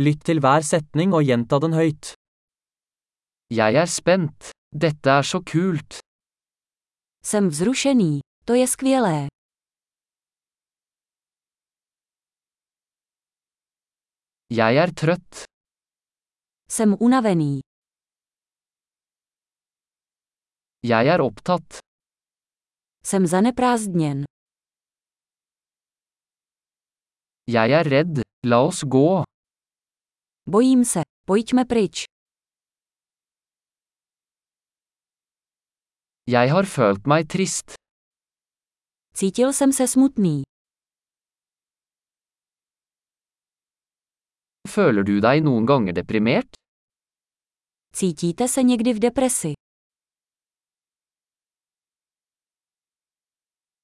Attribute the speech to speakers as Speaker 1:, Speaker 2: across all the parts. Speaker 1: Lytt til hver setning og gjenta den høyt. Jeg er spent. Dette er så kult.
Speaker 2: Jsem vzrušený, to je skvělé.
Speaker 1: Jeg er trøtt.
Speaker 2: Jsem unavený,
Speaker 1: Jeg er opptatt.
Speaker 2: jsem zaneprázdněn,
Speaker 1: Jeg er redd. La oss gå.
Speaker 2: bojím se, pojďme pryč.
Speaker 1: Jeg har følt meg trist.
Speaker 2: Cítil jsem se smutný.
Speaker 1: Føler du deg noen ganger deprimert?
Speaker 2: Cítíte se někdy v depresi?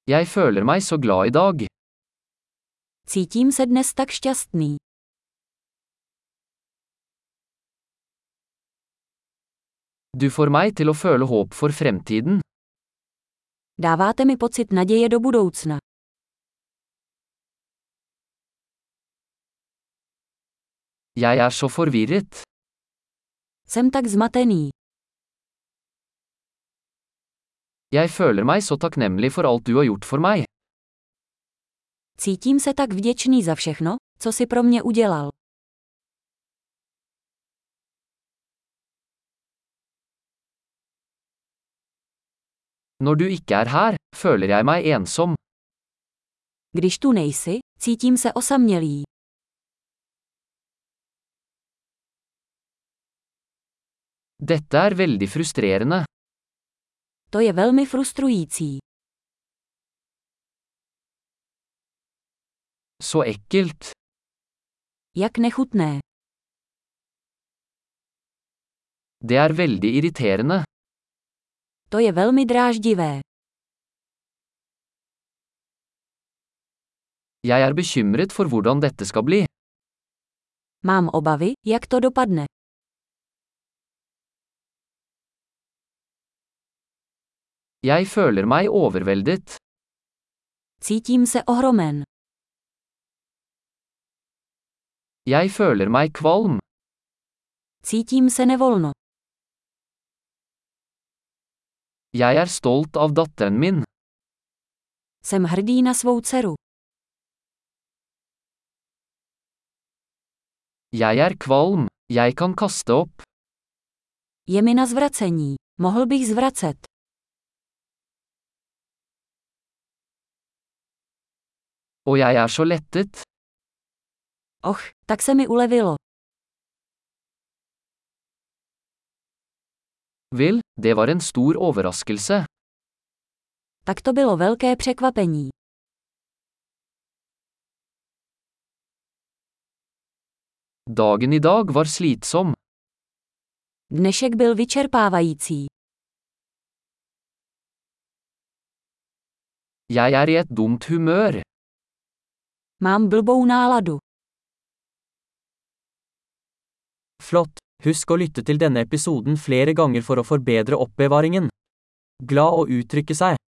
Speaker 1: Jeg føler meg så glad i dag.
Speaker 2: Cítím se dnes tak šťastný.
Speaker 1: Du får meg til å føle håp for fremtiden.
Speaker 2: Dáváte mi pocit naděje do budoucna.
Speaker 1: Jeg er så forvirret.
Speaker 2: Jsem tak zmatený.
Speaker 1: Jeg føler meg så takknemlig for alt du har gjort for meg.
Speaker 2: Cítím se tak vděčný za všechno, co si pro mě udělal.
Speaker 1: Når du ikke er her, føler jeg meg ensom.
Speaker 2: Když tu nejsi, cítím se osamělý.
Speaker 1: Dette er veldig frustrerende.
Speaker 2: To je velmi frustrující.
Speaker 1: Så ekkelt.
Speaker 2: Jak nechutné.
Speaker 1: Det er veldig irriterende.
Speaker 2: To je velmi dráždivé.
Speaker 1: Jeg er bekymret for hvordan dette skal bli.
Speaker 2: Mám obavy, jak to dopadne.
Speaker 1: Jeg føler meg overveldet.
Speaker 2: Cítím se ohromen.
Speaker 1: Jeg føler meg kvalm.
Speaker 2: Cítím se nevolno.
Speaker 1: Jeg er stolt av datteren min.
Speaker 2: Jsem hrdý na svou dceru.
Speaker 1: Jeg er kvalm. Jeg kan kaste opp.
Speaker 2: Je mi na zvracení. Mohl bych zvracet.
Speaker 1: Og jeg er så lettet.
Speaker 2: Och, tak se mi ulevilo.
Speaker 1: Vel, det var en stor overraskelse.
Speaker 2: Tak to bylo velké překvapení.
Speaker 1: Dagen i dag var slitsom.
Speaker 2: Dnešek byl vyčerpávající.
Speaker 1: Jeg er i et dumt humør.
Speaker 2: Mám blbou náladu.
Speaker 1: Flott. Husk å lytte til denne episoden flere ganger for å forbedre oppbevaringen. Glad å uttrykke seg.